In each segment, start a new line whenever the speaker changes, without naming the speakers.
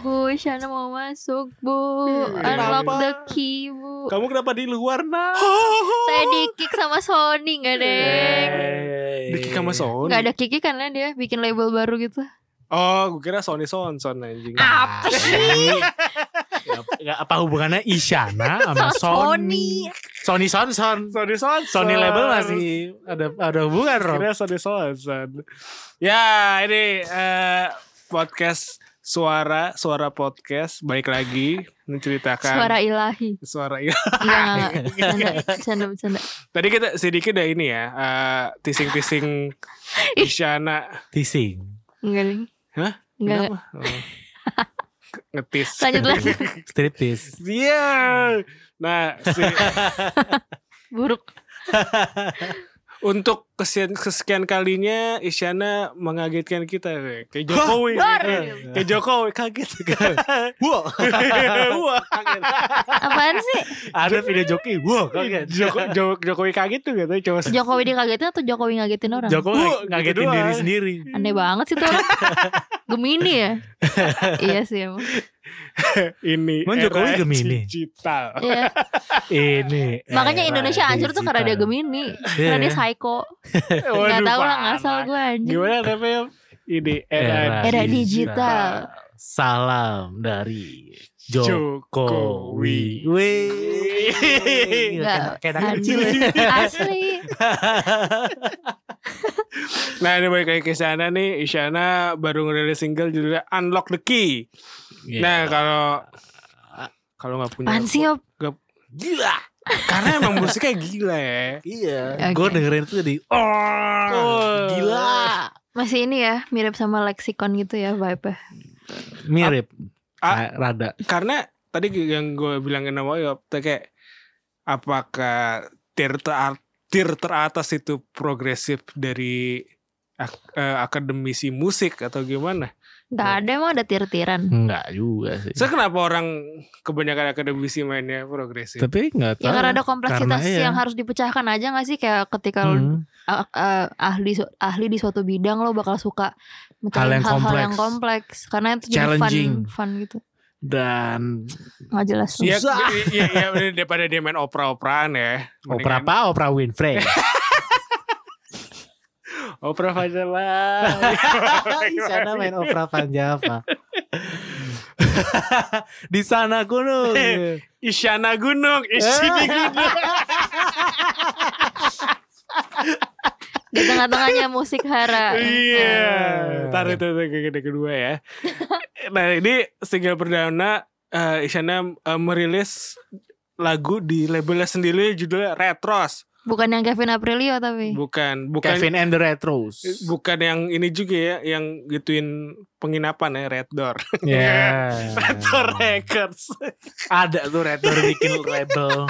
Bu, Shana mau masuk, Bu.
Hmm.
Unlock
Kenapa?
the key, Bu.
Kamu kenapa di luar, Nak?
Saya dikick sama Sony, nggak deng?
Di sama Sony.
Nggak ada kiki karena dia bikin label baru gitu.
Oh, gue kira Sony Sonson anjing.
Apa sih?
Iya. Nggak, apa hubungannya Isyana sama
Sama
Sony? Sony Sonson.
Sony Sonson.
Sony label masih ada ada hubungan Rob.
Kira Sony Sonson. Ya, ini eh, podcast suara suara podcast balik lagi menceritakan
Suara ilahi.
suara Iya.
Enggak, enggak, enggak. Bercanda, bercanda, bercanda.
Tadi kita sedikit dah ini ya, eh, tising-tising Isyana.
Teasing.
Enggak, Ding.
Hah?
Enggak, enggak.
Kenapa? Oh. Ngetis.
Lanjut lagi.
Striptease.
Iya. Nah, si,
Buruk.
untuk kesekian, kesekian kalinya Isyana mengagetkan kita kayak Jokowi. Iya. Kayak Jokowi kaget.
Wow.
Wah, kaget.
Apaan sih?
Ada video joki. Wow, kaget.
Joko- Jo- Jokowi kaget tuh katanya cuma se-
Jokowi dikagetin atau Jokowi ngagetin orang?
Joko
Wow,
ng-
gitu
ngagetin
doang.
diri sendiri.
Aneh banget sih tuh orang. Gemini ya? iya sih emang.
ini.
Emang Jokowi
era
Gemini?
Digital.
Iya.
Ini.
Makanya
era
Indonesia hancur tuh karena dia
digital.
Gemini.
Eh, Iya.
Karena dia psycho. Gak
Waduh,
tau lah
parah.
ngasal gue anjing.
Gimana namanya? Ini era,
Era
Digital.
digital.
Salam dari Jokowi.
Jokowi.
Wih. Kayak- Kayak anak kecil.
Anjir.
ya.
Asli.
Nah ini balik lagi ke Isyana nih Isyana baru ngerilis single judulnya Unlock the Key Nah kalau Kalau gak punya
Apaan sih Op?
Gila.
Karena emang musiknya gila ya
Oke.
Iya. Gue dengerin itu jadi
Oh.
oh, gila.
Masih ini ya mirip sama leksikon gitu ya vibe-nya.
Mirip.
Ah.
Kayak Rada.
Karena tadi yang gue bilangin sama Yop tuh Kayak Apakah tier, terat- tier teratas itu progresif dari ak- eh, Akademisi musik atau gimana
Iya.
Gak ada emang ada tir-tiran.
Enggak juga sih.
So kenapa orang kebanyakan akademisi mainnya progresif
Tapi enggak
Ya
tahu.
karena ada kompleksitas
Karena, iya.
yang harus dipecahkan aja gak sih kayak ketika lo
Hmm.
ah- ah, ahli su- ahli di suatu bidang lo bakal suka
Hal
mecahin
yang
hal-hal
kompleks.
yang kompleks karena itu jadi
Challenging.
fun fun gitu
Dan
nggak jelas
Iya,
Susah.
iya, iya, iya, daripada dia main opera-operaan ya.
opera
Mendingan-
apa? Opera Winfrey.
Opera Fajala.
Di sana main opera Panjava. Di sana gunung.
Isyana Gunung,
Eh.
Isyana Gunung.
di tengah-tengahnya musik hara
Iya. Ntar itu itu ke- ke- kedua ya. Nah ini single perdana eh, Isyana eh, merilis lagu di labelnya sendiri judulnya Retros.
bukan yang Kevin Aprilio tapi
Bukan, bukan
Kevin and the Retros.
bukan yang ini juga ya yang gituin penginapan ya Red Door.
Ya.
Door Records.
Ada tuh Red Door bikin label.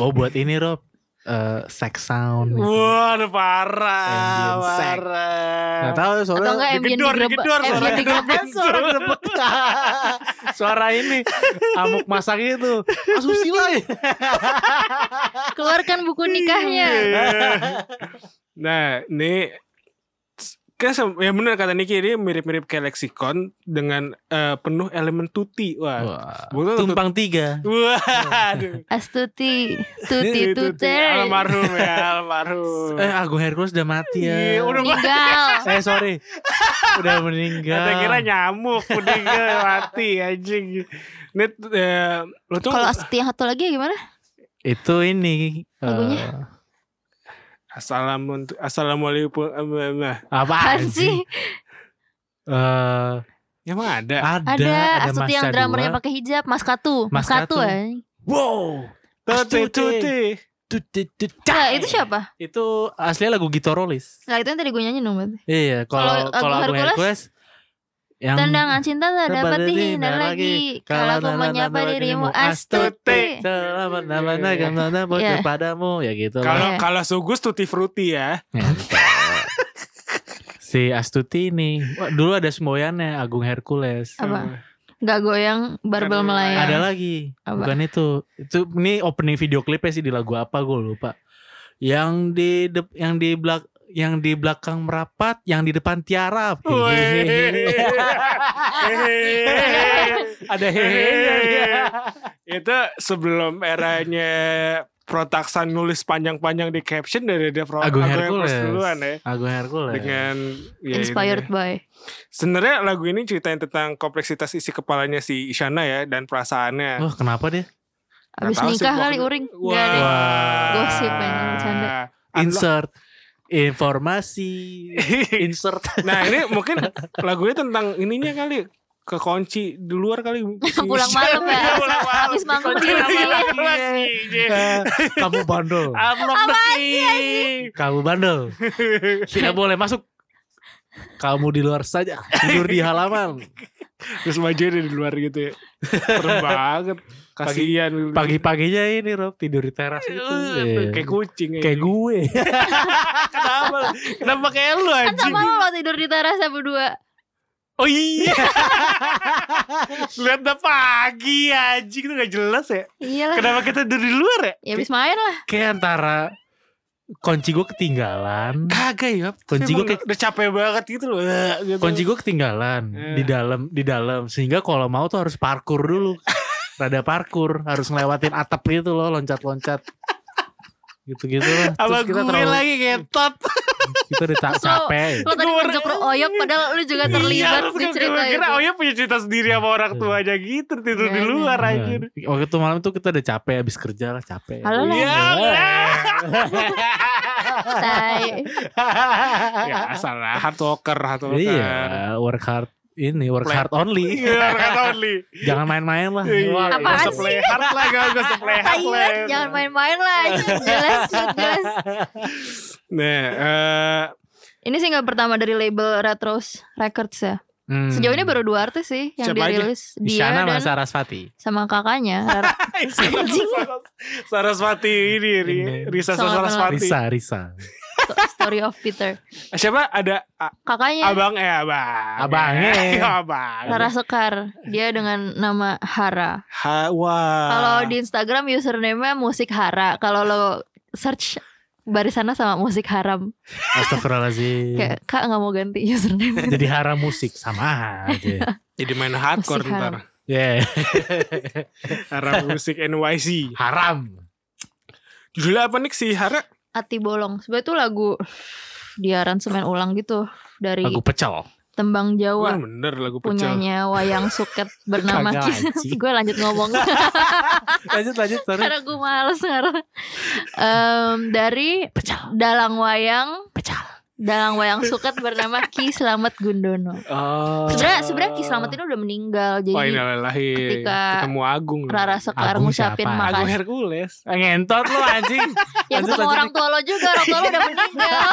Oh buat ini Rob. Eh, sex sound. gitu.
Wah, aduh, parah,
Ambient sex. Nah,
parah.
Gak tahu
atau
soalnya
enggak ambient
digedor,
digrebek
digedor, suara
ambient digrebek
suara gerebek. suara ini amuk masak itu asusila ya.
keluarkan buku nikahnya
Iya. nah, ini kan sem- ya bener kata Niki ini mirip-mirip kayak leksikon dengan eh, penuh elemen tuti. Wah. Bukan
tumpang tiga
Wah, aduh.
astuti tuti
Iya, Tuti,
tuter
Almarhum ya, almarhum.
eh Agung Hercules udah mati ya
Iya, udah
meninggal
eh sorry udah meninggal
Kata kira nyamuk udah gila, mati anjing. Ini eh, lo tuh
kalau astuti yang satu lagi ya gimana
itu ini eh,
Lagunya?
Assalamualaikum Assalamualaikum eh, em, em, em.
eh, apaan
kan
sih
sih
Eh,
Ya Emang ada
ada ah.
ada astuti
Masya
yang drummernya
dua.
pakai hijab mas katu mas
Maskatu.
katu ya
wow
Tuti
Astuti.
tuti
Tuti, tuti.
Nah, itu siapa?
itu aslinya lagu gitorolis
Nah, itu yang tadi gue nyanyi dong berarti.
iya kalau
Kalau
kalau
lagu
Agung Hercules yang
Tendangan cinta tak
Dapat
dapat dihindar
dihindar
lagi
lagi.
Kalau aku
Kalau
menyapa
lala-lala
dirimu
dirimu,
astuti
Selamat nama naga mana
Iya.
padamu ya gitu lah.
Kalau
Iya.
kalau sugus tuti frutti ya
Ngentot. si Astuti ini Wah, dulu ada semboyannya Agung Hercules
Apa? Gak goyang barbel
Kan
melayang
ada
Iya.
lagi
Apa?
bukan itu itu ini opening video klipnya sih di lagu apa gue lupa yang di dep- yang di belak yang di belakang merapat, yang di depan tiarap.
Wih. Hehehe.
Ada hehehe.
itu sebelum eranya protaksan nulis panjang-panjang di caption dari dia pro
Agung
Agung Hercules
Hercules.
duluan ya
Agung Hercules.
dengan ya,
Inspired
ini.
by.
Sebenarnya lagu ini ceritain tentang kompleksitas isi kepalanya si Isyana ya dan perasaannya.
Wah, kenapa deh?
Abis
tahu sih
nikah
gua-
kali uring.
Wah.
Nggak deh.
Wah.
Gosip, men, bercanda.
Unlock.
Insert informasi. Insert.
nah ini mungkin lagunya tentang ininya kali ke kunci di luar kali si
Pulang
Isyana.
malam ya.
Pulang malam.
Abis manggung di
Kunci
rumah.
pulang malam. Iya.
Eh, Kamu bandel.
Unlock the key.
Kamu bandel. Tidak boleh masuk. Kamu di luar saja. Tidur di halaman.
Terus bajunya ada di luar gitu ya. Serem banget. Kasihan.
Pagi-paginya ini Rob tidur di teras itu. Iya.
Eh, Kayak kucing. aja.
Kayak gue.
Kenapa? Kenapa kayak lu
Kan
anjing?
sama lo, lo tidur di teras sama berdua.
Oh iya. Lihat udah pagi anjing. Itu gak jelas ya.
Iyalah.
Kenapa kita tidur di luar ya?
Ya abis main lah.
Kayak antara kunci gue ketinggalan.
Kagak ya.
Kunci
Emang
gue kayak-
udah capek banget gitu loh. Eh, Gitu.
Kunci gue ketinggalan
Eh.
di dalam di dalam sehingga kalau mau tuh harus parkur dulu. Rada parkur, harus ngelewatin atap gitu loh, loncat-loncat. Gitu-gitu lah.
Sama
Terus kita
gue
terlalu
lagi ngetot.
kita dita-
Terus lo-
capek.
Lo tadi
Gua-
ngajak lo oyok padahal lo juga terlibat
Iya, terus
di
gue
cerita
kira, Oh
itu.
ya punya cerita sendiri sama orang tuanya gitu. Tidur di
Iya,
luar
Iya.
anjing.
Waktu itu malam tuh kita udah capek habis kerja lah, capek.
Halo lah.
Ya,
Tai.
ya salah hard worker hard worker
Iya, work hard ini work
Play-
hard only.
Iya, hard worker only
Jangan main-main lah.
Iya,
Apaan
gak usah
sih?
play hard lah gak gak usah play
Tai
hard lah
banget, jangan main-main lah. Itu jelas, jelas.
nah eh,
Ini single pertama dari label Retros Records ya.
Hmm.
Sejauh ini baru dua artis sih yang
Siapa aja?
dirilis dia
Isyana
dan
sama Sarasvati.
sama kakaknya Rara-
Eh,
Anjing.
Saraswati ini Ri-
Ini.
Risa
Sama
Saraswati Eh,
Risa, Risa.
Story of Peter.
siapa ada a-
Kakaknya
abang eh abang
Abangnya.
Iya, abang
Rara Sekar. Dia dengan nama Hara.
Ha- wah
Kalau di Instagram username-nya musik Hara. Kalau lo search barisannya sama musik haram.
Astagfirullahaladzim.
Iya.
Kayak Kak nggak mau ganti username.
Jadi haram musik sama aja.
jadi main hardcore
Musik haram.
ntar
Yeah.
Hara Musik NYC
haram.
judulnya apa nih si Hara
Ati Bolong. Sebenarnya itu lagu di aransemen ulang gitu dari
Lagu pecel.
tembang Jawa
Wah, bener lagu pecel
punyanya Wayang Suket bernama
Kagak
Ki.
anjing.
gue lanjut ngomong
Lanjut lanjut sorry.
karena gue males sekarang. Em, dari
Pecel.
dalang wayang
Pecel.
dalang wayang Suket bernama Ki Slamet Gundono.
Oh.
Sebenarnya sebenarnya Ki Slamet ini udah meninggal jadi
Wah ini lalahi
ketika
ketemu Agung dong.
Rara Sekar
Agung
ngucapin
siapa?
Agung
makasih.
Hercules.
Ah, Ngentot lu anjing.
Ya
Lanjut,
ketemu
lanjut,
orang tua lo juga, orang tua lo udah meninggal.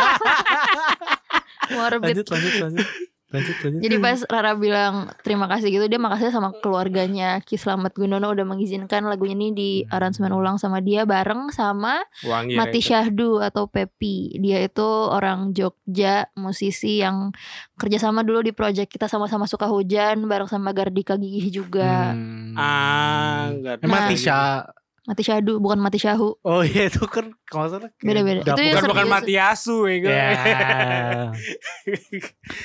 Morbid.
Lanjut lanjut lanjut. Lanjut lanjut.
Jadi pas Rara bilang terima kasih gitu dia makasih sama keluarganya Ki Slamet Gunono udah mengizinkan lagunya ini di aransemen ulang sama dia bareng sama
Wangi.
Mati
Reka.
Syahdu atau Pepi. Dia itu orang Jogja, musisi yang kerjasama dulu di project kita sama-sama suka hujan bareng sama Gardika Gigih juga.
Hmm.
Ah, enggak.
Nah.
Emang Tisha.
Mati Syahdu bukan Mati Syahu.
Oh iya itu kan kalau nggak salah kayak
Beda-beda.
dapur.
Itu yang
Bukan bukan
serius.
Mati Asu ya gue.
Ya.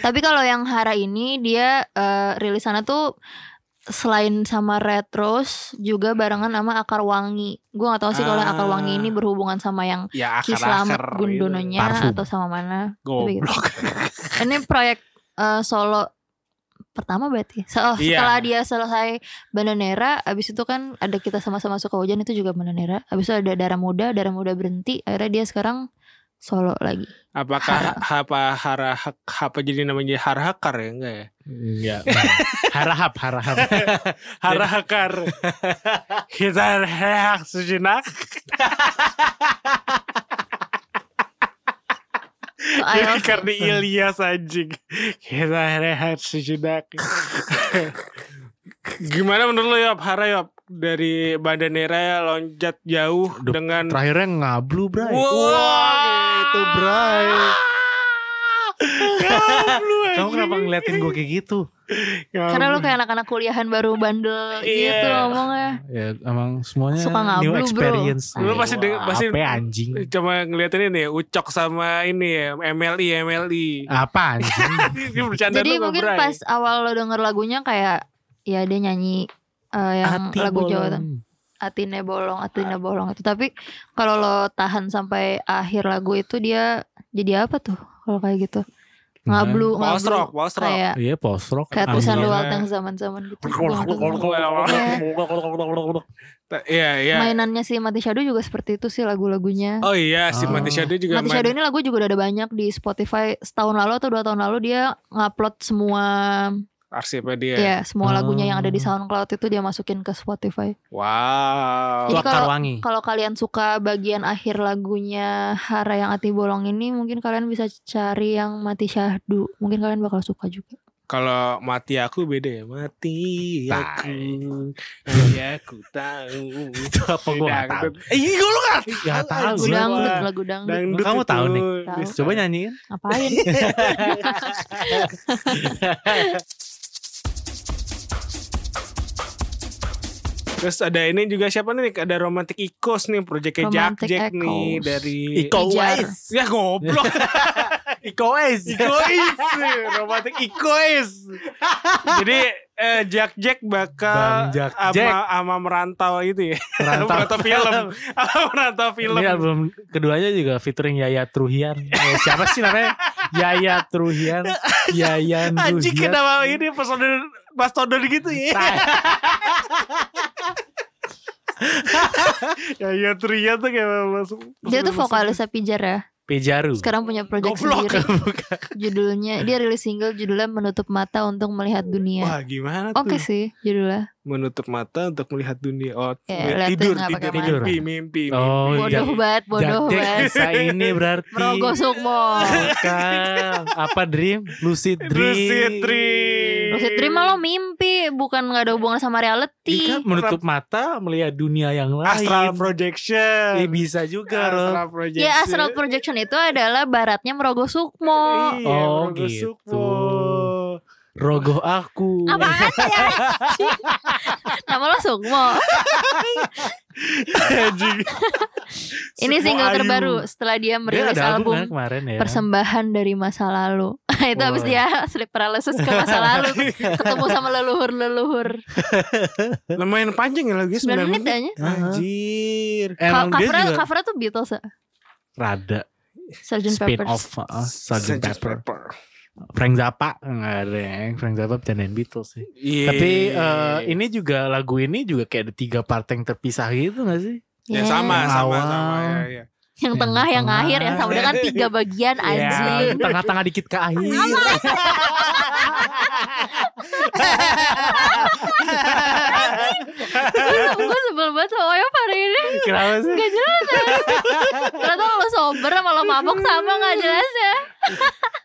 Tapi kalau yang Hara ini dia eh, rilisannya tuh selain sama Retros juga barengan sama Akar Wangi. Gue gak tahu sih kalau yang Akar Wangi ini berhubungan sama yang
Ya
Ki
akar-akar.
Slamet
gitu.
Gundononya
Parfum.
atau sama mana.
Goblok.
Ini proyek eh, solo pertama berarti. So- oh,
Iya.
setelah dia selesai Bandanera, abis itu kan ada kita sama-sama suka hujan itu juga Bandanera. Abis itu ada Darah Muda, Darah Muda berhenti. Akhirnya dia sekarang solo lagi.
Apakah apa hara apa jadi namanya harhakar ya enggak ya?
Iya. harahap, harahap.
Harahakar. Kita reak sejenak.
So,
Jadi
IELTS
Iya, karena Ilyas anjing. Kita rehat sejenak. Gimana menurut lo Yop? Hara Yop dari Bandanera loncat jauh
Duh,
dengan gitu,
Terakhirnya ngablu, Bray.
Wah.
Wah, itu, Bray.
Lu anjing.
Kamu kenapa ngeliatin gue kayak gitu?
Ya
Karena lu
ampun.
kayak anak-anak kuliahan baru bandel
Iya.
gitu ngomongnya.
Ya emang semuanya
Suka ngablu,
new
bro.
experience.
Lu pasti denger-
Wah,
pasti-
apa ya, anjing?
Cuma ngeliatin ini ya, Ucok sama ini ya, MLI, MLI.
Apa anjing?
Ini bercanda
Jadi
lu sama
mungkin
Bray.
pas awal lo denger lagunya kayak ya dia nyanyi eh, yang
Hati
lagu Jawa tuh.
bolong.
Atine bolong,
Ah.
Atine bolong itu. Tapi kalau lo tahan sampai akhir lagu itu dia jadi apa tuh kalau kayak gitu?
Hmm.
Ngablu,
Post
ngablu.
rock, post rock.
Kayak
Iya post rock.
kayak
Ambil.
tulisan
Ambien.
luar yang zaman-zaman gitu.
Ta- Iya, iya.
Mainannya si Mati Shadow juga seperti itu sih lagu-lagunya.
Oh iya, si
Oh.
Mati Shadow juga
Mati
main.
Shadow ini lagu juga udah ada banyak di Spotify setahun lalu atau dua tahun lalu dia ngupload semua
Arsipnya dia.
ya semua
Oh.
lagunya yang ada di
Hmm.
SoundCloud itu dia masukin ke Spotify. Jadi
Wow.
Tuak
kalau-
Karwangi.
Kalau kalian suka bagian akhir lagunya Hara yang Ati Bolong ini Mungkin kalian bisa cari yang Mati Syahdu Mungkin kalian bakal suka juga
Kalau mati aku beda ya mati aku hanya aku tahu.
Itu apa gue gak tau.
Dangdut. Ih, gue iya, lu gak
Gak tau
Lagu
Lagu
gue.
dangdut,
apa?
lagu dangdut
Dangdut
Kamu
itu.
tahu nih?
Tahu.
Dis-
Coba nyanyiin.
Ngapain?
Terus ada ini juga siapa nih? Ada Romantic Echoes nih, Projectnya Jack
Romantic
Jack nih
Echoes.
dari
Ijar.
Ya goblok.
Ikoes.
Echoes, Romantic Echoes. Jadi eh, Jack Jack bakal
Bang Jack Jack.
ama, ama merantau itu ya. Merantau film. Ama merantau film.
Ini album keduanya juga featuring Yaya Truhian. Eh, Siapa sih namanya? Yaya Truhian. Yayan
Anjing
Truhian.
kenapa ini personil mastodon gitu ya? ya ya Tria tuh kayak masuk.
Dia tuh vokalis Pijar ya
Pejaru.
Sekarang punya project
Goblok.
sendiri Judulnya Dia rilis single judulnya Menutup Mata Untuk Melihat Dunia
Wah gimana tuh?
Oke sih judulnya
Menutup mata untuk melihat dunia. Oh,
Ya, liatin
tidur,
nggak
tidur,
pakai
tidur,
mata.
mimpi, mimpi.
Oh,
mimpi.
iya.
Bodoh banget Bodoh
Jack Jack
banget
bisa ini berarti.
Merogoh Sukmo
Bukan. Apa dream? Lucid dream.
Lucid dream.
Lucid Dream mah lo mimpi Bukan gak ada hubungan sama reality
Iya, menutup mata melihat dunia yang lain.
Astral
Eh,
projection.
bisa juga, Rob.
Astral projection.
Ya astral projection itu adalah baratnya merogoh sukmo.
Iya,
Oh,
Rogo
gitu.
Sukmo.
Rogoh aku.
Apaan ya? Nama lo sukmo.
Anjing.
Ini
Sukmo
single
Ayu.
terbaru setelah dia
Dia
merilis
ada album,
album
kan kemarin ya.
Persembahan dari masa lalu. itu habis
Wah.
dia sleep paralysis ke masa lalu tuh. ketemu sama leluhur-leluhur.
Lumayan panjang ya lagunya
9
9
menit
menit.
aja.
Anjir.
Ka-
Eh, Emang dia
Covernya
juga
covernya tuh Beatles ya.
rada
Sgt.
spin
Pepper.
off uh, Sgt.
Sgt.
Pepper. Frank Zappa enggak ada yang Frank Zappa bercandain Beatles sih.
Iya.
Tapi eh, ini juga lagu ini juga kayak ada tiga part yang terpisah gitu gak sih?
ya sama sama
Yang awal.
sama ya, ya.
Yang tengah, yang
tengah.
akhir, yang sama dengan tiga bagian
Ya,
anjing.
tengah-tengah dikit ke akhir.
Gue sebel banget sama Oyo hari ini.
Kenapa sih?
Gak jelas ya Ternyata lo sober sama lo mabok sama gak jelas ya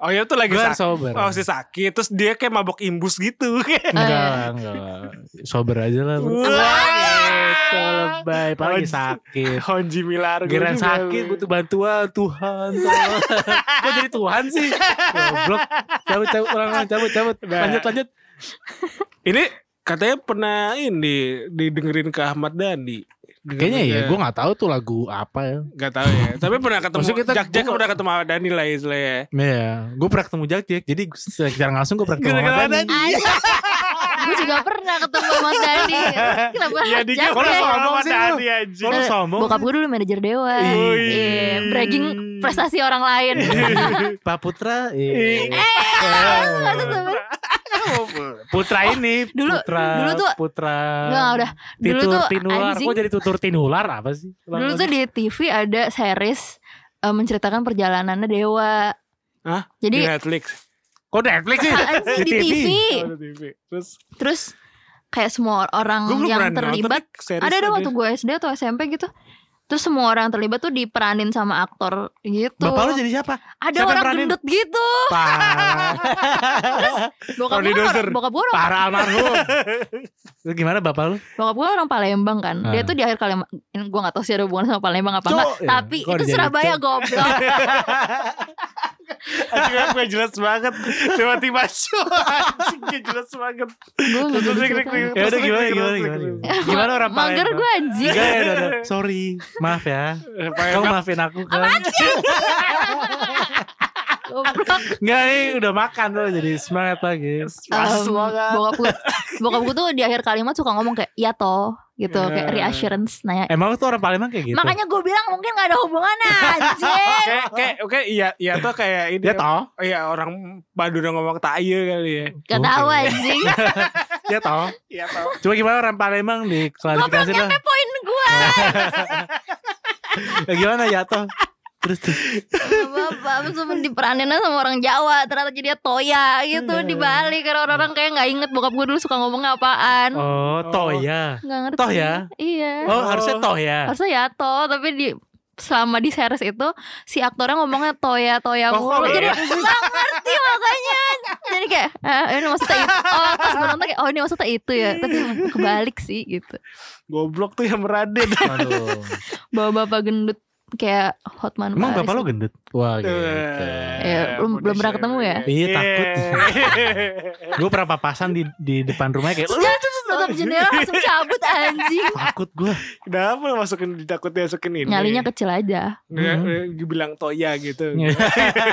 Oh ya tuh lagi
Gue
sakit.
sober.
Oh si sakit terus dia kayak mabok imbus gitu.
Enggak, lah, enggak. lah. Sober aja lah. bro. Gitu lebay. Apalagi
Anjing.
sakit.
Honji gitu. Milar
Geran sakit butuh bantuan Tuhan. tolong. Kok jadi Tuhan sih? Goblok. Cabut cabut orang orang cabut cabut.
Nah.
Lanjut lanjut.
Ini katanya pernah ini didengerin ke Ahmad Dhani. Dengerin
Kayaknya ya,
ke-
gue nggak tahu tuh lagu apa ya.
nggak tahu ya. Tapi pernah ketemu
Maksudnya kita-
Jack Jack
gua-
pernah ketemu Ahmad Dhani lah istilahnya. ya.
Iya, gue pernah ketemu Jack Jack, jadi secara nggak langsung gue pernah ketemu
Gara-gara
Ahmad Dhani.
Dhani.
Gue juga pernah ketemu sama Dani Kenapa
Ya di
Jack
orang
ya?
sama
Ngomong
Ahmad
sih lu.
Dhani anjing.
Kok lu sombong?
Bokap gue dulu manajer Dewa
Ih.
Iya, Bragging prestasi orang lain
Pak Putra,
Eh,
iya. Putra ini,
Dulu-
Putra,
dulu tuh-
Putra,
Enggak udah Dulu
Titur
tuh
Tinular,
anjing.
kok jadi Tutur Tinular apa sih?
Dulu tuh di TV ada series eh, Menceritakan perjalanannya Dewa
Hah? Di
Jadi
Netflix.
Kok Netflix sih?
apaan sih di TV
Oh, di TV. Terus
Terus Kayak semua orang
gue belum
yang
pernah
terlibat
nonton series
ada ada waktu gue SD atau SMP gitu terus semua orang yang terlibat tuh diperanin sama aktor gitu
Bapak lu jadi siapa?
ada
siapa yang
orang
peranin? Ah.
gendut gitu
Parah,
bokap
Roni
gue orang,
Dozer.
bokap gue orang
parah almarhum. Terus gimana bapak lu?
bokap gue orang Palembang kan dia
Ah. iya.
tuh di akhir Palembang gue gak tahu sih ada hubungan sama Palembang apa
Cok,
enggak
ya.
tapi
Kok
itu
dijadiin
Surabaya
cok?
goblok
Anjing aku gak jelas banget. Tiba-tiba show. Anjing gak jelas banget.
Gue gak jadi
Klik, klik,
ceritain.
klik.
Ya udah
Terus
gimana
terus
gimana
terus
gimana.
terus.
gimana? Gimana orang
Mager
Palembang?
gue anjir
Enggak, ya, udah, udah. Sorry, maaf ya.
Apa yang
Kamu maafin aku kan?
Goblok.
Enggak, ini udah makan tuh jadi semangat lagi.
Um,
banget.
bokap gue bokap gue tuh di akhir kalimat suka ngomong kayak ya toh gitu kayak
Ya.
reassurance nah
Emang tuh orang Palembang kayak Iya. gitu.
makanya gue bilang mungkin gak ada hubungannya anjir
Kayak, kayak, oke, iya, iya tuh kayak ini.
dia Ya toh,
Oh iya orang Badura ngomong tayo kali ya.
gak tahu eh. anjing
dia Ya toh.
Iya tau.
Coba gimana orang Palembang
goblok
diklarifikasi lah.
nyampe poin gue
Ya, gimana ya toh? Terus terus.
bapak cuma diperaninnya sama orang Jawa ternyata jadi toya gitu
Iya.
di Bali karena orang-orang kayak gak inget bokap gue dulu suka ngomong apaan
Oh, toh ya.
nggak ngerti
Toh ya?
iya
Oh, harusnya toh ya.
harusnya ya toh tapi di selama di series itu si aktornya ngomongnya toya toya
Oh,
mulu
kok
jadi
iya
nggak ngerti makanya jadi kayak ah, ini maksudnya itu oh pas gue nonton kayak oh ini maksudnya itu ya tapi emang kebalik sih gitu
Goblok tuh yang meradit.
Aduh.
bawa bapak gendut kayak Hotman
Emang
Paris
bapak lo gendut? Wah, gitu.
Eh, belum- belum pernah ketemu ya?
Iya, takut.
takut.
Gue pernah papasan di di depan rumahnya kayak "Lu,
Jangan tutup tutup jendela langsung cabut anjing
takut gue.
Kenapa masukin ditakut masukin ini?
nyalinya Hmm. kecil aja
Nggak, eh, dibilang toya gitu.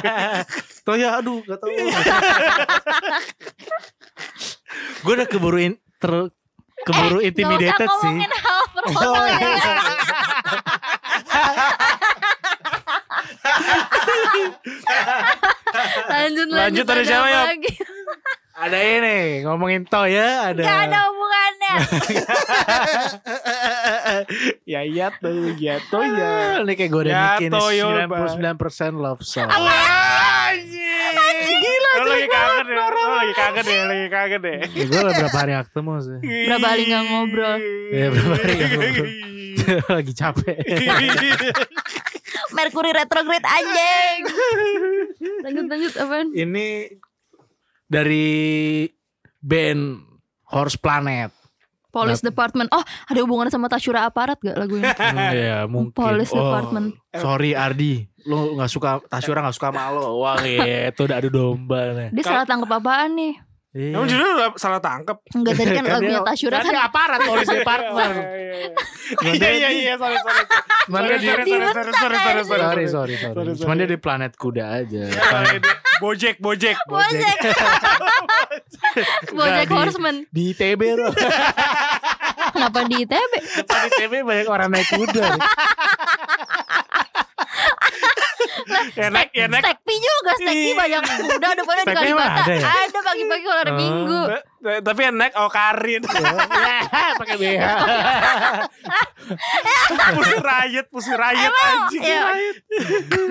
toh ya, aduh, gak tau. gue udah keburuin ter keburu
Eh, nggak
intimidated
usah
sih.
ngomongin hal
Oh,
perhotelan
iya.
ya. lanjut lanjut,
Lanjut, ada siapa, Yop?
lagi
Ada ini ngomongin toh ya, ada.
nggak ada hubungannya
ya iya tuh, ya toya.
Ah, Ini kayak gue udah
Ya,
bikin
toh, ya,
99% love song.
Anjing. Gila, lo lagi kangen ya, lo lagi kangen ya, lagi kangen ya.
Ya, gue udah berapa hari gak ketemu sih.
Berapa kali nggak ngobrol?
Iya, berapa kali nggak ngobrol. Lagi capek.
Mercury retrograde anjing lanjut lanjut apaan
Ini dari band Horse Planet.
Police Department oh ada hubungannya sama Tasyura Aparat gak lagu ini
Hmm, ya mungkin.
Police
Oh,
Department.
Sorry Ardi, lo nggak suka Tasyura nggak suka sama lo. Wah itu udah adu domba nih.
dia salah tangkep apaan nih
Iya.
Kamu jujur lo salah tangkep.
enggak tadi kan
Kan
lagunya
dia-
Tasyura kan
dia aparat Police Department.
Iya iya iya sorry sorry.
Cuman dia-
sorry, sorry, sorry, sorry, sorry, sorry,
Sorry,
sorry.
sorry, sorry. Iya,
Sorry,
Cuman
sorry.
dia di planet kuda aja.
Bojek bojek.
Bojek Bojek
Nggak, di-
Horseman
Di ITB lo.
Kenapa di ITB
Depan ITB banyak orang naik kuda.
Ya naik ya
Iya,
naik.
Stek Pi juga Stek Pi banyak kuda depannya di
Stek Pi Iya. emang
Kalibata
ada
Ada,
ya?
pagi-pagi kalau hari
Oh.
Minggu
Tapi yang naik oh Karin. Ya,
Pakai BH.
Pusir rayet, pusir rayet anjing.
iya.
rayet.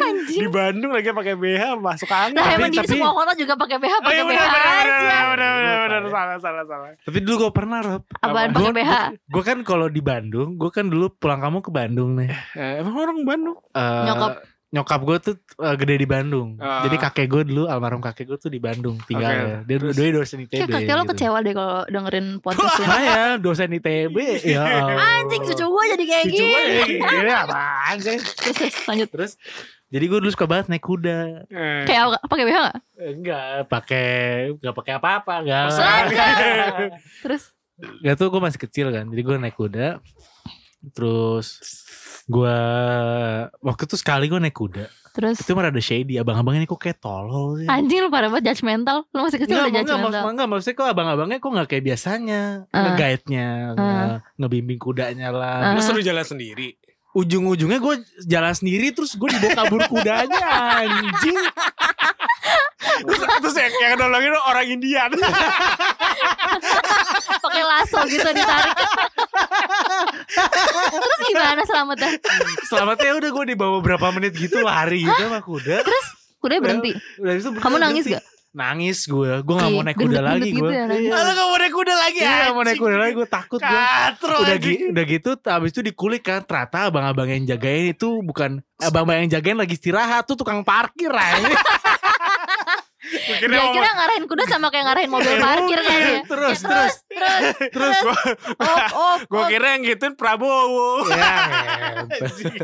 Anjing
Di Bandung lagi pakai BH masuk angin.
Nah
Tapi-
emang di
tapi-
semua kota juga pakai BH
Oh
Pakai
iya
BH
benar
aja.
benar benar benar benar benar salah salah salah.
Tapi dulu gue pernah Rob.
Apaan
Gua-
pakai BH
Gue kan kalau di Bandung, gue kan dulu pulang kamu ke Bandung nih.
Emang orang Bandung.
Eh,
Nyokap.
Nyokap gue tuh eh, gede di Bandung.
Ah.
Jadi kakek gue dulu, almarhum kakek gue tuh di Bandung tinggalnya. Dia
terus?
dua dosen ITB.
Kayak kakek lo
gitu.
kecewa deh kalau dengerin podcast ini
Saya dosen ITB. ya Allah.
Anjing cucu gue jadi kayak
Cucu
gini
gue ya, gini apaan sih?
Terus terus, lanjut
Terus jadi gue dulu suka banget naik kuda.
Eh,
Kayak apa- pakai BH gak?
Enggak, pakai enggak pakai apa-apa, enggak.
Terus
Gak tuh gue masih kecil kan Jadi gue naik kuda Terus Gue Waktu itu sekali gue naik kuda
Terus
Itu emang rada shady Abang-abangnya ini kok kayak tolol sih
Anjing lu parah banget judgmental Lu masih kecil Ah, udah
Enggak, enggak,
judgmental
maksud, enggak, maksudnya kok abang-abangnya kok gak kayak biasanya
Ah.
Nge-guide-nya
Ah.
nge- Ngebimbing kudanya lah
Ah.
Lu suruh jalan sendiri.
Ujung-ujungnya gue jalan sendiri Terus gue dibawa kabur kudanya Anjing
Terus, terus yang, yang nolongin lu orang Indian.
pakai lasso gitu ditarik terus gimana selamatnya
Selamatnya udah gue dibawa berapa menit gitu Lari gitu sama kuda
terus kuda berhenti
Udah habis itu
kamu nangis gak
Nangis gue Gue gak mau
Ih,
naik kuda
gendut-gendut
lagi
gitu
gue
ya, nangis.
Lalu kamu naik kuda lagi
Iya
anjing.
mau naik kuda lagi gue takut gue
Katro
udah,
anjing.
gi- udah gitu abis itu dikulik kan ternyata abang-abang yang jagain itu bukan abang-abang yang jagain lagi istirahat tuh tukang parkir aja
Gua kira
dia
mau-
kira ngarahin kuda sama kayak ngarahin mobil parkir kayaknya
terus
Ya, terus terus Oh,
terus
op op
Gue
op.
kira yang gituin Prabowo.
ya,
Anjing.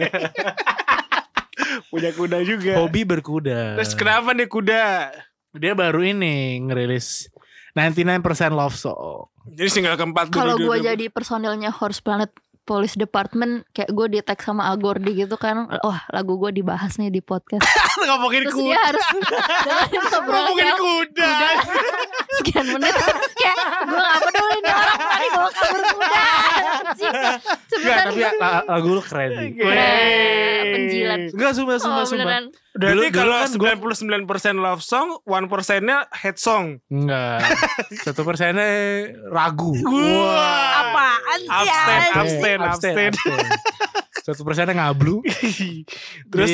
punya kuda juga.
Hobi berkuda.
Terus kenapa nih kuda?
Dia baru ini ngerilis 99% Love Song.
Jadi single keempat gua
Kalau
dulu-
gue
dulu-
jadi personilnya Horse Planet Police Department kayak gue di tag sama Agordi gitu kan wah lagu gue dibahas nih di podcast
ngomongin
terus
kuda.
dia harus dengerin obrolan
Ngomongin
yang
kuda.
sekian menit kayak gue gak peduli nih orang tadi gue kabur kuda anjing
Enggak,
sebentar
tapi ya. la- lagu lu keren. Di.
Oke.
Weh, penjilat.
Enggak, sumpah,
oh
sumpah, sumpah.
beneran
Berarti
Dulu- dulu
kalau
kan gua-
99% love song, 1%-nya head song.
Enggak. Satu persennya ragu.
apaan sih
Abstain,
anjing?
abstain, abstain.
Satu persennya ngablu.
Terus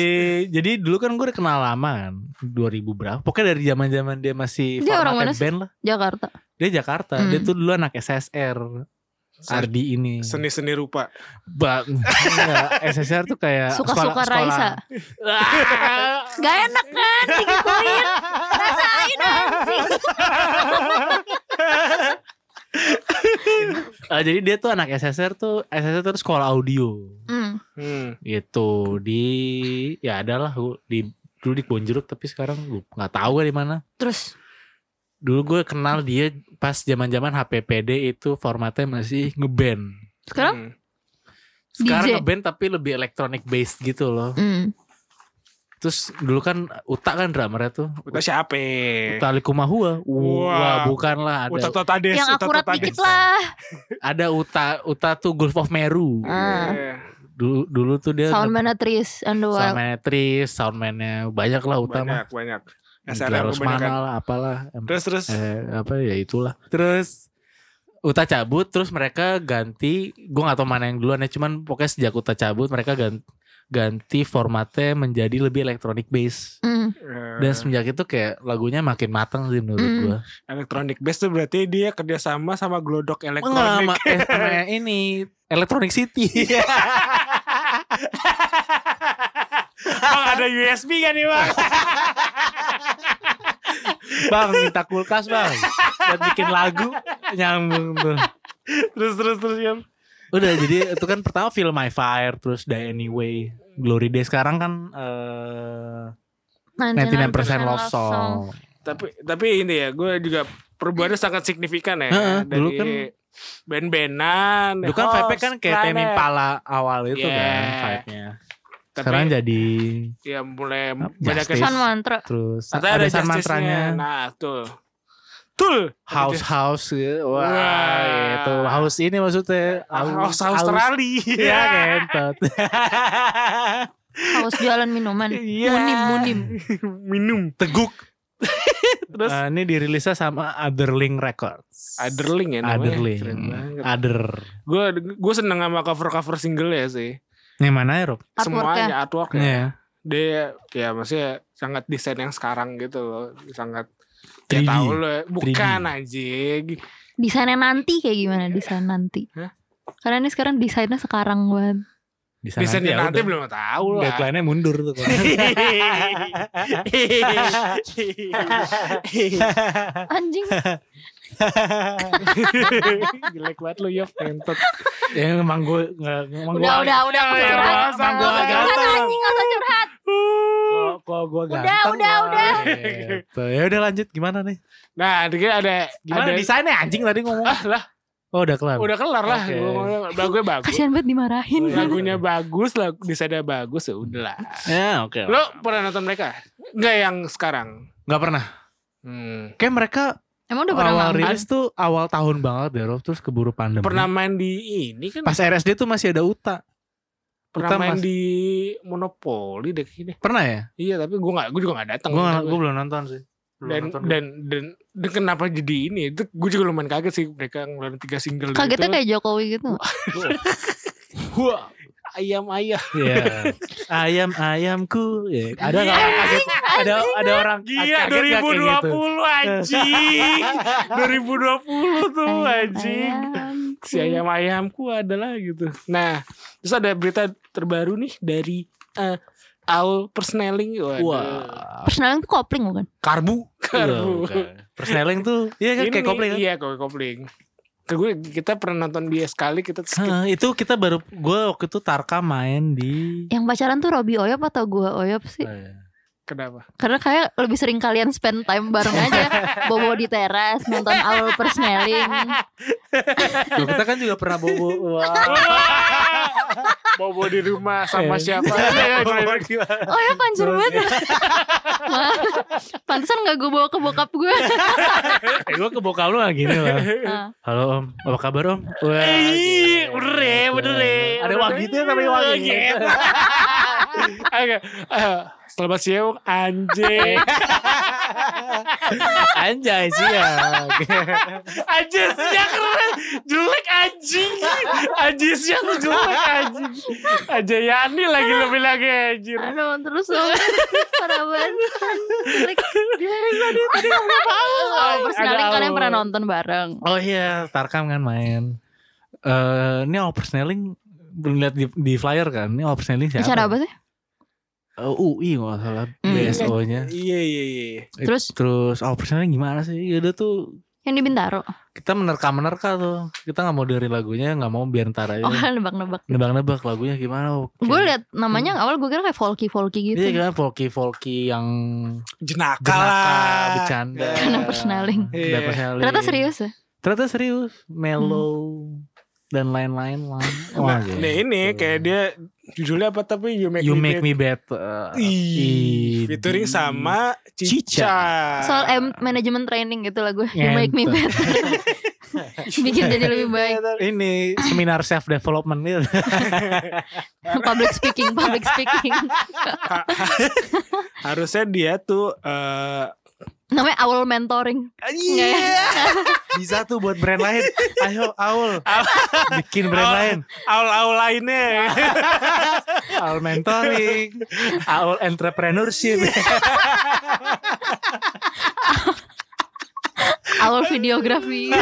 Terus jadi dulu kan gue kenal lama kan 2000 berapa pokoknya dari zaman zaman dia masih
Dia orang
formatnya
mana sih?
band lah
Jakarta
dia Jakarta
Hmm.
dia tuh dulu anak SSR Ardi ini
seni-seni rupa.
Ba- enggak, SSR tuh kayak
suka-suka
sekolah-
Raisa
sekolah.
gak enak kan digituin rasain anjing
Eh, jadi dia tuh anak SSR tuh SSR tuh sekolah audio
Hmm,
Hmm.
gitu di ya adalah gua- di dulu di Bonjeruk tapi sekarang gue nggak tahu di mana
terus
dulu gue kenal dia pas zaman-zaman HPPD itu formatnya masih ngeband
sekarang
Hmm.
sekarang
DJ.
ngeband tapi lebih electronic based gitu loh
hmm.
terus dulu kan Uta kan drummernya tuh
Uta siapa?
Uta Likumahua wah
Wah.
bukanlah ada
Uta Totades.
yang
Uta
akurat
Totades.
dikit lah
ada Uta Uta tuh Gulf of Meru
Ah.
Iya.
dulu dulu tuh dia
soundman Tris and the Wild
soundman Tris soundmannya banyak lah Uta mah
Banyak, banyak. SRM
Harus
kebanyakan.
mana lah apalah em-
Terus, terus.
eh, apa ya itulah terus Uta cabut terus mereka ganti gue gak tau mana yang duluan ya cuman pokoknya sejak Uta cabut mereka ganti ganti formatnya menjadi lebih electronic based
Hmm,
Eh,
Dan semenjak itu kayak lagunya makin matang sih menurut
Hmm.
gua.
Electronic bass tuh berarti dia kerjasama sama Glodok
Enggak
Electronic.
sama eh, sama yang ini Electronic City.
Bang ada USB kan nih bang?
bang minta kulkas bang buat bikin lagu nyambung tuh.
terus terus terus ya, Yam.
Udah jadi itu kan pertama film My Fire terus Die Anyway. Glory Day sekarang kan eh 99% Love Song.
Tapi tapi ini ya gue juga perubahannya sangat signifikan ya
Heeh,
dari
dulu kan-
band-bandan.
Dulu kan vibe kan kayak Temi Pala awal itu kan
Yeah.
vibe-nya.
Tapi
Sekarang jadi
ya mulai
Justice.
banyak
Sun Mantra
terus
Katanya
ada, san
Justice-nya.
mantranya.
Nah, tuh. Tul.
house house gitu. wah
Wah.
itu house ini maksudnya
House, Australia.
ya kentot
Haus jualan minuman
Iya.
Kan Munim munim
Minum teguk. terus
Eh, ini dirilisnya sama Otherling Records
Adderling ya namanya.
Otherling
Keren banget.
Other
Gue gue seneng sama cover-cover single ya sih.
yang mana ya Rob?
Artworknya
Semuanya artwork ya.
Iya.
dia ya maksudnya sangat desain yang sekarang gitu loh sangat
3D.
ya tahu lo bukan anjing
Desainnya nanti kayak gimana Desain nanti
Iya. Hah?
Karena ini sekarang desainnya sekarang banget
Di sana
desainnya
ya
nanti
udah.
belum tahu lah
Deadline-nya mundur tuh kan.
Anjing
jelek banget lu ya pentot
ya emang gue nggak emang
Udah udah Ah, udah aku
Ya,
curhat.
ya,
Aku
sang gua
curhat,
ganteng.
anjing gak usah curhat
Kok- kok gue
Udah,
ganteng
udah,
lah,
udah.
gitu. ya udah lanjut gimana nih
nah dia ada
gimana
ada
desainnya anjing tadi ngomong
ah lah
oh udah kelar
udah kelar lah
Oke.
Gua ngomong, lagunya bagus
Kasian banget dimarahin
Udah.
lagunya bagus lagu desainnya bagus ya udahlah
ya oke
lo pernah nonton mereka Enggak yang sekarang
nggak pernah
hmm.
kayak mereka
Emang udah pernah
awal
mampir?
rilis tuh awal tahun banget deh Rob terus keburu pandemi
pernah main di ini kan
pas RSD tuh masih ada Uta
pernah
Uta
main
mas-
di Monopoli deh kayaknya
pernah ya
iya tapi gue nggak gue juga nggak datang
gue
Gua-
gue belum nonton sih Belum
dan,
nonton.
dan dan dan kenapa jadi ini itu gue juga lumayan kaget sih mereka ngeluarin tiga single
Kagetnya
gitu.
kayak Jokowi gitu
Wah, ayam ayam
Iya. ayam ayamku ya. ada nggak orang kaget ada ada orang
gila
kaget nggak kayak gitu?
2020 anjing 2020 tuh anjing
Sayangku.
si ayam ayamku adalah gitu nah terus ada berita terbaru nih dari eh, Owl Persneling Waduh.
wah
Personalnya tuh kopling bukan?
karbu
Karbu.
Wah, bukan. persneling tuh iya kan Iya kayak kopling kan?
Iya kayak kopling Ke gue kita pernah nonton dia sekali kita terus kita-
Hah, itu kita baru gue waktu itu Tarka main di
Yang pacaran tuh Robi Oyop atau gua Oyop sih?
Eh,
kenapa?
Karena kayak lebih sering kalian spend time bareng aja Bobo di teras, nonton Owl Persmelling
Loh, kita kan juga pernah bobo Wah.
Bobo di rumah sama
Eh.
siapa? Iya,
Bobo di-
Oh ya pancur banget Wah, Pantesan gak gue bawa ke bokap gue
Eh, gue ke bokap lu lah gini lah
Ah.
Halo om, apa kabar om? Wah,
Ih,
gila.
bener ya, bener ya.
Ada wagitnya namanya wagit
Wagit. Oke. eh, Selamat siang anjing.
Anjay sih ya
Anjing siang keren. Jelek anjing. Anjing siang lu jelek anjing. Anjing Yani lagi lebih lagi anjir.
Aduh terus dong Parah banget Like, Owl Persmelling
Ada
Oh, kalian
Owl.
pernah nonton bareng
Oh iya, Tarkam kan main Eh, Ini oversnelling belum lihat di, di flyer kan ini oversnelling siapa?
Acara apa sih?
Eh, UI nggak salah
Hmm.
BSO-nya.
Iya iya iya.
Terus?
terus oversnelling gimana sih? Ya udah tuh
Yang di Bintaro
kita menerka-menerka tuh. Kita nggak mau dari lagunya, nggak mau biar ntar aja.
Oh nebak-nebak
Nebak-nebak lagunya gimana? oke.
Gue liat namanya awal gue kira kayak Volky-Volky gitu
Iya kan folky-folky yang
Jenaka
jenaka,
lah.
bercanda.
Karena
oversnelling.
Karena
Iya.
oversnelling.
Ternyata serius Hmm. ya
Ternyata serius, mellow dan lain-lain lah.
Nah,
Wah, gitu.
nah ini kayak dia judulnya apa tapi You Make
You
Me
Make
Bad.
Me Better.
Ih, featuring
Ih.
sama Cica. Iya,
Cica.
Soal em manajemen training gitu lah gue You make me
Ngentot.
better Bikin jadi lebih baik
ini seminar self development gitu.
Public speaking Public speaking
Ha- ha- Harusnya dia tuh eh,
Namanya Owl Mentoring
Iya.
Bisa tuh buat brand lain. Ayo Aul. Bikin brand
Aul.
lain.
aul-aul lainnya.
Aul mentoring. Aul entrepreneurship.
Iya. Owl Videography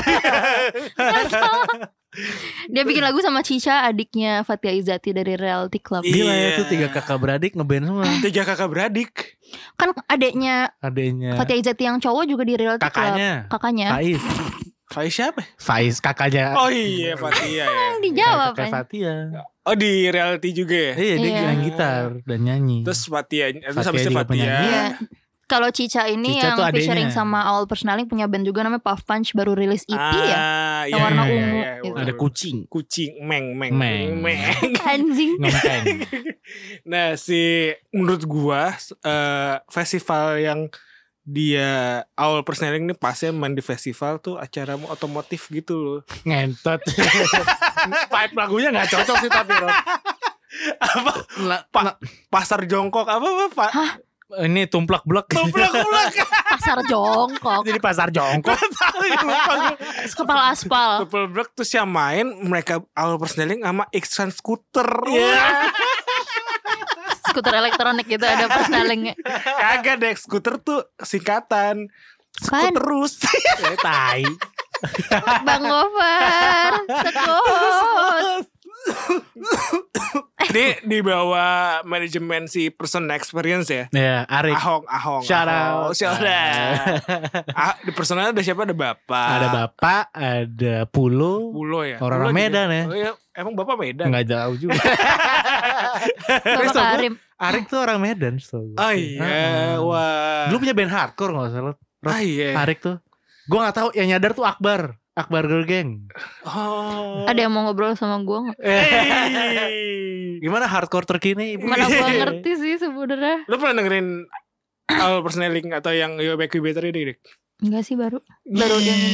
Dia bikin lagu sama Cica Adiknya Fatia Izati dari Reality Club
Gila ya
Iya.
tuh tiga kakak beradik ngeband semua.
Tiga kakak beradik.
Kan adiknya
Adanya.
Fatia Izati yang cowok juga di Reality Club
Kakaknya.
Kakaknya
Faiz.
Faiz siapa?
Faiz kakaknya.
Oh iya Fatia ya.
Yang dijawab
Kakak
kan
Fatia.
Oh di reality juga ya.
Iya dia
Iya.
main gitar dan nyanyi.
Terus Fatia, terus
Fathia
habis itu
juga penyanyi.
Fatia.
Iya kalau Cica ini
Cica
yang
tuh adeknya.
featuring sama Owl Persnaling punya band juga namanya Puff Punch baru rilis EP ya.
Ah,
Yang
iya,
warna
iya,
ungu
iya,
gitu.
iya.
ada kucing.
kucing meng meng
Meng. Kan-
Anjing.
Ngempeng.
Nah si menurut gua eh, festival yang dia awal persneling ini pasnya main di festival tuh acara otomotif gitu loh.
Ngentot. Vibe lagunya gak cocok sih tapi Rob.
apa pasar jongkok apa apa pak?
ini tumplak blek.
Tumplak tumplak
pasar jongkok
Jadi pasar jongkok.
tahu ya lupa gua.
kepala aspal
Tumplak terus yang main mereka awal persneling sama Iksan Scooter.
Iya.
skuter elektronik gitu ada persnelingnya
Kagak deh Scooter tuh singkatan.
Apaan?
Skuterus
Eh, tai.
Kan, bang Gofar sekut
Ini di bawah manajemen si person experience ya.
Ya, Arik.
Ahong, Ahong.
Shout
Ahong.
out.
Shout out. ah, di personal ada siapa? Ada Bapak.
Ada bapak, ada pulo.
Pulo ya.
Orang-orang
Pulo
Medan ya.
Oh, iya. Emang Bapak Medan?
Enggak jauh juga.
Bapak
Stop.
Karim
Arik tuh orang Medan. setahu gue.
Oh iya.
Heeh.
Wah.
Dulu punya band hardcore kalau nggak salah.
Ah iya.
Arik tuh. Gue gak tahu yang nyadar tuh Akbar. Akbar Girl Gang.
Oh.
ada yang mau ngobrol sama gue
Eh.
nggak?
Hey.
Gimana hardcore terkini? Ibu?
mana gue ngerti sih sebenarnya
Lu pernah dengerin All Personaling atau yang Yo Back You Better ini, Dik?
enggak sih baru Baru dia ini.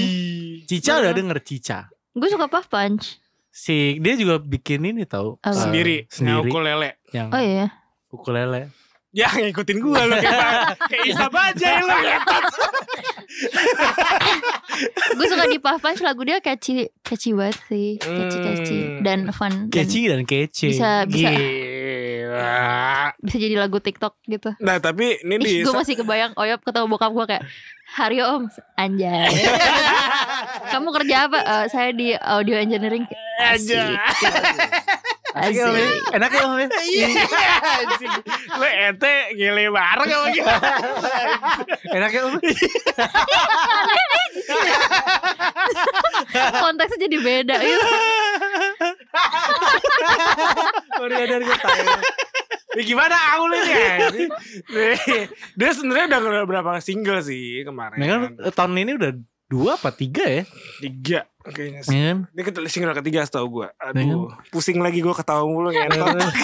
Cica udah denger Cica.
gue suka Puff Punch
Si dia juga bikin ini tahu.
Apa?
eh,
Sendiri.
sendiri.
Nah, ukulele.
yang
oh iya
ukulele.
Ya ngikutin gue lu kayak kayak
Iya.
Isa Bajaj lu ngetot.
gue suka di Puff Punch lagu dia catchy catchy banget sih catchy catchy
Hmm.
dan fun Dan
Kece dan kece.
Bisa- bisa.
Gila.
bisa jadi lagu TikTok gitu
Nah tapi ini
Ih,
di
gue masih kebayang Oyop ketemu bokap gue kayak Hario om Anjay Kamu kerja apa? "Eh, saya di audio engineering
aja.
Asik.
Enak ya Om, ya?
Iya. anjing. Lu ente gile bareng sama kita.
Enak ya Om?
konteksnya jadi beda gitu.
Baru nyadar gue tahu. Ya gimana aku lu ini anjing? Nih, Dia sebenarnya udah keluar berapa single sih kemarin
Nah, kan eh, tahun ini udah dua apa tiga ya?
Tiga kayaknya sih
Iya kan?
Ini ketel- single ketiga setahu gue Aduh Pusing lagi gue ketawa mulu ya
Nah,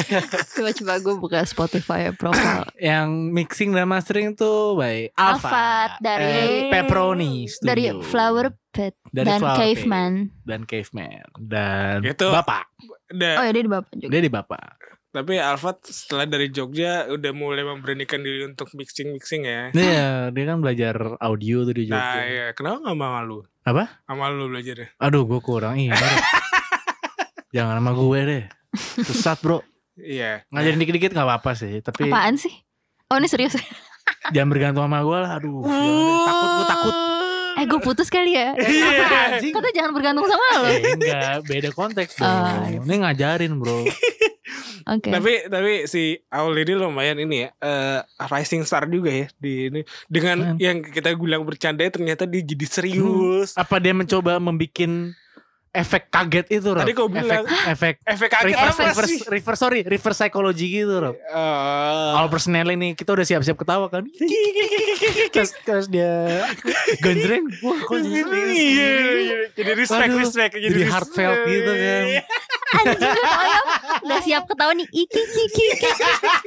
Coba-coba gue buka Spotify profile.
Yang mixing dan mastering tuh by Alpha,
Alphard dari-
eh, Pepperoni Studio.
Dari Flower Pet
Dari
dan
Flower Pit.
Caveman.
dan Caveman dan
Itu.
Bapak.
Oh ya dia di bapak juga.
Dia di Bapak.
Tapi Alfat setelah dari Jogja Udah mulai memberanikan diri untuk mixing-mixing ya
Iya, dia kan belajar audio tuh di Jogja.
Nah iya Kenapa gak sama lu?
Apa?
Sama lu ya? belajarnya
Aduh, gue kurang ini. Jangan sama gue deh. Susah, Bro.
Iya
Ngajarin dikit-dikit gak apa-apa sih, tapi
Apaan sih? Oh ini serius.
jangan bergantung sama gue lah. Aduh, jangan deh. takut gue takut.
Eh gue putus kali ya.
Iya, anjing.
Kata jangan bergantung sama lo.
Eh, enggak, beda konteks bro.
Ah,
Ini ngajarin bro.
Oke.
Tapi tapi si Aul ini lumayan ini ya eh, rising star juga ya di ini dengan
Keren.
yang kita bilang bercanda ternyata dia jadi serius.
Apa dia mencoba membikin efek kaget itu Rob?
Tadi kau bilang-
efek, efek
Efek kaget
Hmm. reverse,
apa
reverse,
sih?
reverse, sorry, reverse psychology gitu Rob.
Eh,
All personnel ini kita udah siap-siap ketawa kan? terus, terus dia gonjreng. Wah, kok jadi serius?
Iya, iya. jadi respect
Waduh,
respect
jadi
respect.
heartfelt gitu kan.
Anjing, udah tau ya. Udah siap ketawa nih. Iki iki iki. iki.